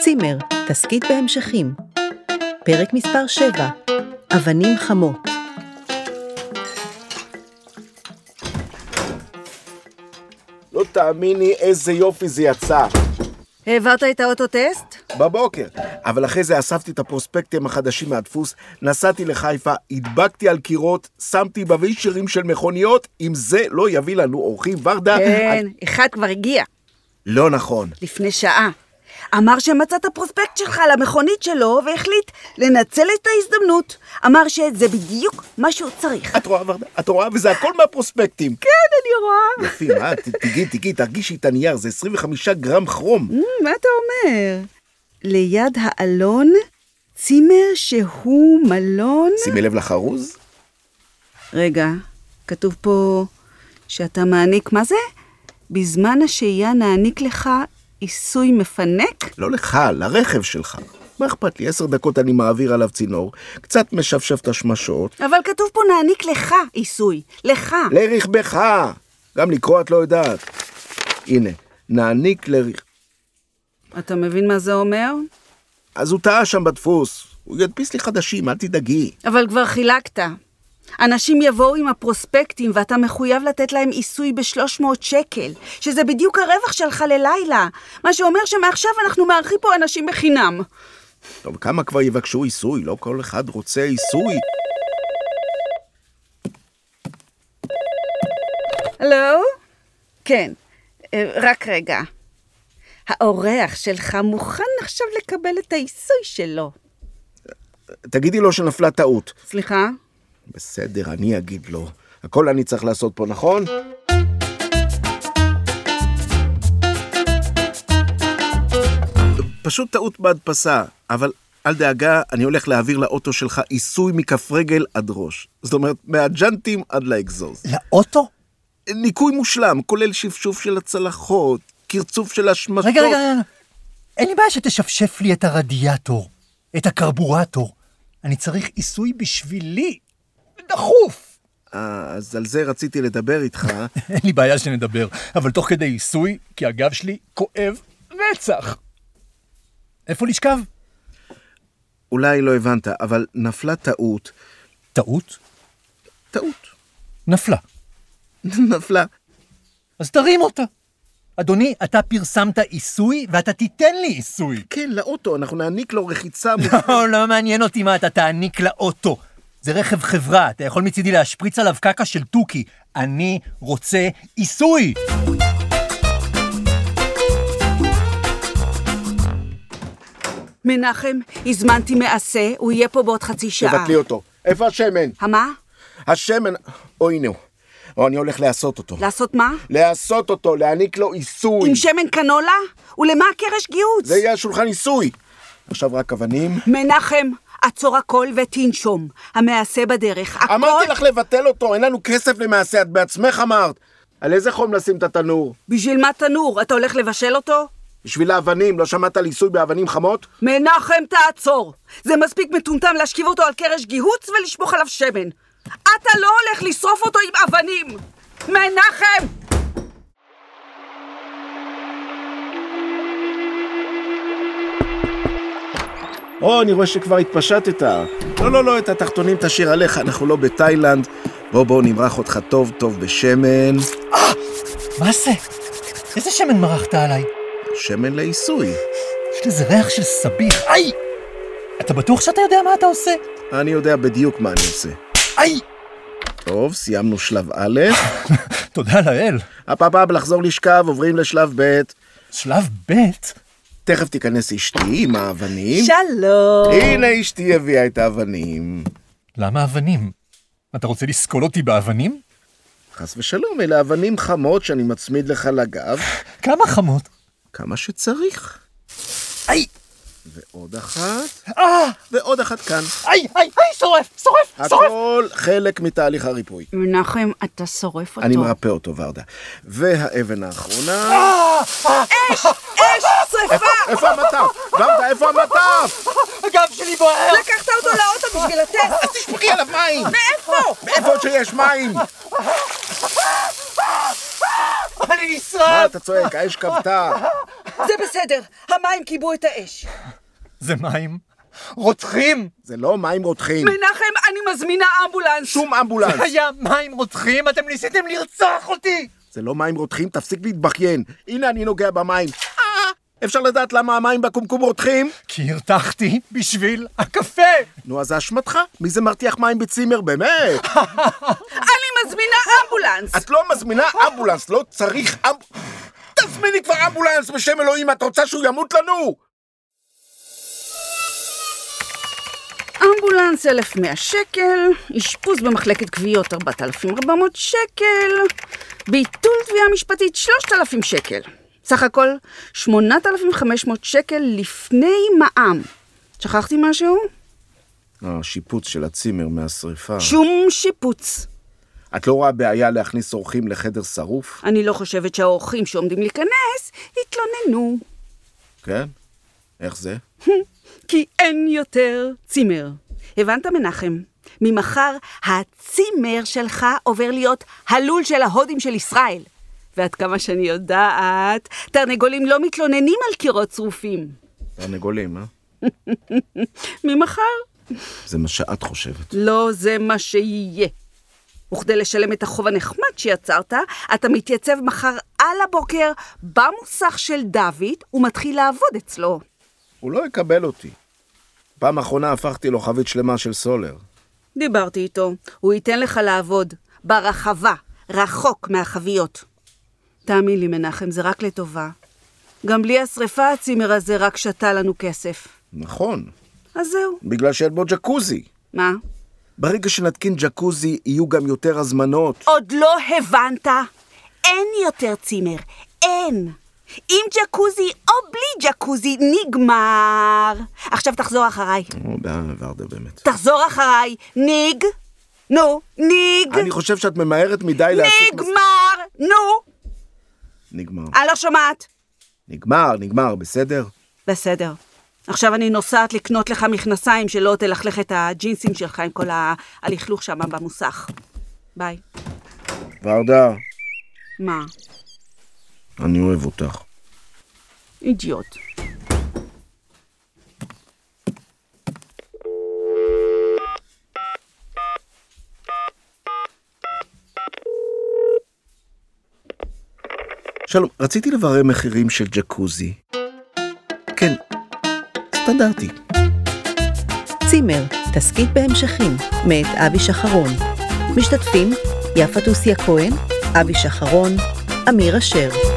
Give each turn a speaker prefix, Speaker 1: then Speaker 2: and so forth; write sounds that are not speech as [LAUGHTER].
Speaker 1: צימר, תסכית בהמשכים. פרק מספר 7, אבנים חמות.
Speaker 2: לא תאמיני איזה יופי זה יצא.
Speaker 3: העברת את האוטוטסט?
Speaker 2: בבוקר. אבל אחרי זה אספתי את הפרוספקטים החדשים מהדפוס, נסעתי לחיפה, הדבקתי על קירות, שמתי בווישרים של מכוניות, אם זה לא יביא לנו אורחים ורדה...
Speaker 3: כן,
Speaker 2: אני-
Speaker 3: אחד כבר הגיע,
Speaker 2: לא נכון.
Speaker 3: לפני שעה. אמר שמצא את הפרוספקט שלך על המכונית שלו והחליט לנצל את ההזדמנות. אמר שזה בדיוק מה שהוא צריך.
Speaker 2: את רואה, ורדה? את רואה? וזה הכל מהפרוספקטים.
Speaker 3: כן, אני רואה.
Speaker 2: יפים, אה? ת- תיגעי, תיגעי, תרגישי את הנייר, זה 25 גרם כרום.
Speaker 3: אמ, מה אתה אומר? ליד האלון, צימר שהוא מלון...
Speaker 2: שימי לב לחרוז.
Speaker 3: רגע, כתוב פה שאתה מעניק, מה זה? בזמן השהייה נעניק לך עיסוי מפנק?
Speaker 2: לא לך, לרכב שלך. מה אכפת לי? עשר דקות אני מעביר עליו צינור, קצת משפשף את השמשות,
Speaker 3: אבל כתוב פה נעניק לך עיסוי, לך.
Speaker 2: לרכבך. גם לקרוא את לא יודעת. הנה, נעניק לרכ...
Speaker 3: אתה מבין מה זה אומר?
Speaker 2: אז הוא טעה שם בדפוס. הוא ידפיס לי חדשים, אל תדאגי.
Speaker 3: אבל כבר חילקת. אנשים יבואו עם הפרוספקטים ואתה מחויב לתת להם עיסוי ב-300 שקל, שזה בדיוק הרווח שלך ללילה, מה שאומר שמעכשיו אנחנו מארחים פה אנשים בחינם.
Speaker 2: טוב, כמה כבר יבקשו עיסוי? לא כל אחד רוצה עיסוי.
Speaker 3: הלו? כן, אה, רק רגע. האורח שלך מוכן עכשיו לקבל את העיסוי שלו.
Speaker 2: תגידי לו שנפלה טעות.
Speaker 3: סליחה?
Speaker 2: בסדר, אני אגיד לו. הכל אני צריך לעשות פה, נכון? פשוט טעות בהדפסה, אבל אל דאגה, אני הולך להעביר לאוטו שלך עיסוי מכף רגל עד ראש. זאת אומרת, מהג'נטים עד לאגזוז.
Speaker 4: לאוטו?
Speaker 2: ניקוי מושלם, כולל שפשוף של הצלחות, קרצוף של השמשות.
Speaker 4: רגע, רגע, רגע. אין לי בעיה שתשפשף לי את הרדיאטור, את הקרבורטור. אני צריך עיסוי בשבילי. דחוף!
Speaker 2: אה, אז על זה רציתי לדבר איתך.
Speaker 4: [LAUGHS] אין לי בעיה שנדבר, אבל תוך כדי עיסוי, כי הגב שלי כואב רצח. איפה לשכב?
Speaker 2: אולי לא הבנת, אבל נפלה טעות.
Speaker 4: טעות?
Speaker 2: טעות. [LAUGHS]
Speaker 4: נפלה.
Speaker 2: נפלה.
Speaker 4: אז תרים אותה. אדוני, אתה פרסמת עיסוי, ואתה תיתן לי עיסוי.
Speaker 2: כן, לאוטו, אנחנו נעניק לו [LAUGHS] רחיצה. מ-
Speaker 4: לא, לא מעניין אותי מה אתה תעניק לאוטו. זה רכב חברה, אתה יכול מצידי להשפריץ עליו קקה של תוכי. אני רוצה עיסוי!
Speaker 3: מנחם, הזמנתי מעשה, הוא יהיה פה בעוד חצי שעה.
Speaker 2: תבטלי אותו. איפה השמן?
Speaker 3: המה?
Speaker 2: השמן... או הנה הוא. או אני הולך לעשות אותו.
Speaker 3: לעשות מה?
Speaker 2: לעשות אותו, להעניק לו עיסוי.
Speaker 3: לא. עם שמן קנולה? ולמה הקרש גיהוץ?
Speaker 2: זה יהיה השולחן עיסוי. עכשיו רק אבנים.
Speaker 3: מנחם, עצור הכל ותנשום. המעשה בדרך, הכל...
Speaker 2: אמרתי לך לבטל אותו, אין לנו כסף למעשה, את בעצמך אמרת. על איזה חום לשים את התנור?
Speaker 3: בשביל מה תנור? אתה הולך לבשל אותו?
Speaker 2: בשביל האבנים, לא שמעת על עיסוי באבנים חמות?
Speaker 3: מנחם, תעצור! זה מספיק מטומטם להשכיב אותו על קרש גיהוץ ולשפוך עליו שמן. אתה לא הולך לשרוף אותו עם אבנים! מנחם!
Speaker 2: או, אני רואה שכבר התפשטת. לא, לא, לא, את התחתונים תשאיר עליך, אנחנו לא בתאילנד. בוא, בוא, נמרח אותך טוב טוב בשמן.
Speaker 4: מה זה? איזה שמן מרחת עליי?
Speaker 2: שמן לעיסוי.
Speaker 4: יש לזה ריח של סביח. איי! אתה בטוח שאתה יודע מה אתה עושה?
Speaker 2: אני יודע בדיוק מה אני עושה.
Speaker 4: איי!
Speaker 2: טוב, סיימנו שלב א',
Speaker 4: תודה לאל.
Speaker 2: הפעם לחזור לשכב, עוברים לשלב ב'.
Speaker 4: שלב ב',
Speaker 2: תכף תיכנס אשתי עם האבנים.
Speaker 3: שלום!
Speaker 2: הנה אשתי הביאה את האבנים.
Speaker 4: למה אבנים? אתה רוצה לסקול אותי באבנים?
Speaker 2: חס ושלום, אלה אבנים חמות שאני מצמיד לך לגב,
Speaker 4: כמה חמות?
Speaker 2: כמה שצריך.
Speaker 4: איי!
Speaker 2: ועוד אחת,
Speaker 4: אה!
Speaker 2: ועוד אחת כאן.
Speaker 4: איי! איי! איי! שורף! שורף! שורף!
Speaker 2: הכל חלק מתהליך הריפוי.
Speaker 3: מנחם, אתה שורף אותו.
Speaker 2: אני מרפא אותו, ורדה. והאבן האחרונה...
Speaker 3: אש! שרפה!
Speaker 2: איפה המטף? ורדה, איפה המטף?
Speaker 4: הגב שלי בוער!
Speaker 3: לקחת אותו לאוטו בשביל
Speaker 2: אז
Speaker 3: הטסט!
Speaker 2: תשפכי עליו מים!
Speaker 3: מאיפה?
Speaker 2: מאיפה שיש מים?
Speaker 4: אני
Speaker 2: מה
Speaker 4: נשרף!
Speaker 2: אתה צועק? האש כבתה.
Speaker 3: זה בסדר, המים כיבו את האש.
Speaker 4: זה מים רותחים!
Speaker 2: זה לא מים רותחים.
Speaker 3: מנחם, אני מזמינה אמבולנס.
Speaker 2: שום אמבולנס.
Speaker 4: זה היה מים רותחים? אתם ניסיתם לרצוח אותי!
Speaker 2: זה לא מים רותחים, תפסיק להתבכיין. הנה אני נוגע במים. אה, אפשר לדעת למה המים בקומקום רותחים?
Speaker 4: כי הרתחתי בשביל הקפה!
Speaker 2: נו, אז זה אשמתך. מי זה מרתיח מים בצימר, באמת?
Speaker 3: אני מזמינה אמבולנס.
Speaker 2: את לא מזמינה אמבולנס, לא צריך אמב... תזמיני כבר אמבולנס בשם אלוהים, את רוצה שהוא ימות לנו?
Speaker 3: אמבולנס 1,100 שקל, אשפוז במחלקת כוויות 4,400 שקל, ביטול תביעה משפטית 3,000 שקל. סך הכל 8,500 שקל לפני מע"מ. שכחתי משהו?
Speaker 2: השיפוץ אה, של הצימר מהשריפה.
Speaker 3: שום שיפוץ.
Speaker 2: את לא רואה בעיה להכניס אורחים לחדר שרוף?
Speaker 3: אני לא חושבת שהאורחים שעומדים להיכנס יתלוננו,
Speaker 2: כן? איך זה?
Speaker 3: כי אין יותר צימר. הבנת, מנחם? ממחר הצימר שלך עובר להיות הלול של ההודים של ישראל. ועד כמה שאני יודעת, תרנגולים לא מתלוננים על קירות צרופים.
Speaker 2: תרנגולים, אה?
Speaker 3: ממחר
Speaker 2: זה מה שאת חושבת.
Speaker 3: לא זה מה שיהיה. וכדי לשלם את החוב הנחמד שיצרת, אתה מתייצב מחר על הבוקר במוסך של דוד ומתחיל לעבוד אצלו.
Speaker 2: הוא לא יקבל אותי. פעם אחרונה הפכתי לו חבית שלמה של סולר.
Speaker 3: דיברתי איתו, הוא ייתן לך לעבוד, ברחבה, רחוק מהחביות. תאמין לי, מנחם, זה רק לטובה. גם בלי השרפה הצימר הזה רק שתה לנו כסף.
Speaker 2: נכון,
Speaker 3: אז זהו.
Speaker 2: בגלל שאין בו ג'קוזי.
Speaker 3: מה?
Speaker 2: ברגע שנתקין ג'קוזי, יהיו גם יותר הזמנות.
Speaker 3: עוד לא הבנת? אין יותר צימר, אין. עם ג'קוזי או בלי ג'קוזי, נגמר. עכשיו תחזור אחריי.
Speaker 2: נו, בעיה ורדה באמת.
Speaker 3: תחזור אחריי, ניג. נו, ניג.
Speaker 2: אני חושב שאת ממהרת מדי להסיק... מס-
Speaker 3: נגמר, נו.
Speaker 2: נגמר.
Speaker 3: אני לא שומעת.
Speaker 2: נגמר, נגמר, בסדר?
Speaker 3: בסדר. עכשיו אני נוסעת לקנות לך מכנסיים שלא תלכלך את הג'ינסים שלך עם כל ה- הלכלוך שם במוסך. ביי.
Speaker 2: ורדה,
Speaker 3: מה?
Speaker 2: אני אוהב אותך.
Speaker 3: אידיוט.
Speaker 2: שלום, רציתי לברר מחירים של ג'קוזי. כן, סטנדרטי.
Speaker 1: צימר, תסכית בהמשכים, מאת אבי שחרון. משתתפים יפה תוסיה כהן, אבי שחרון, אמיר אשר.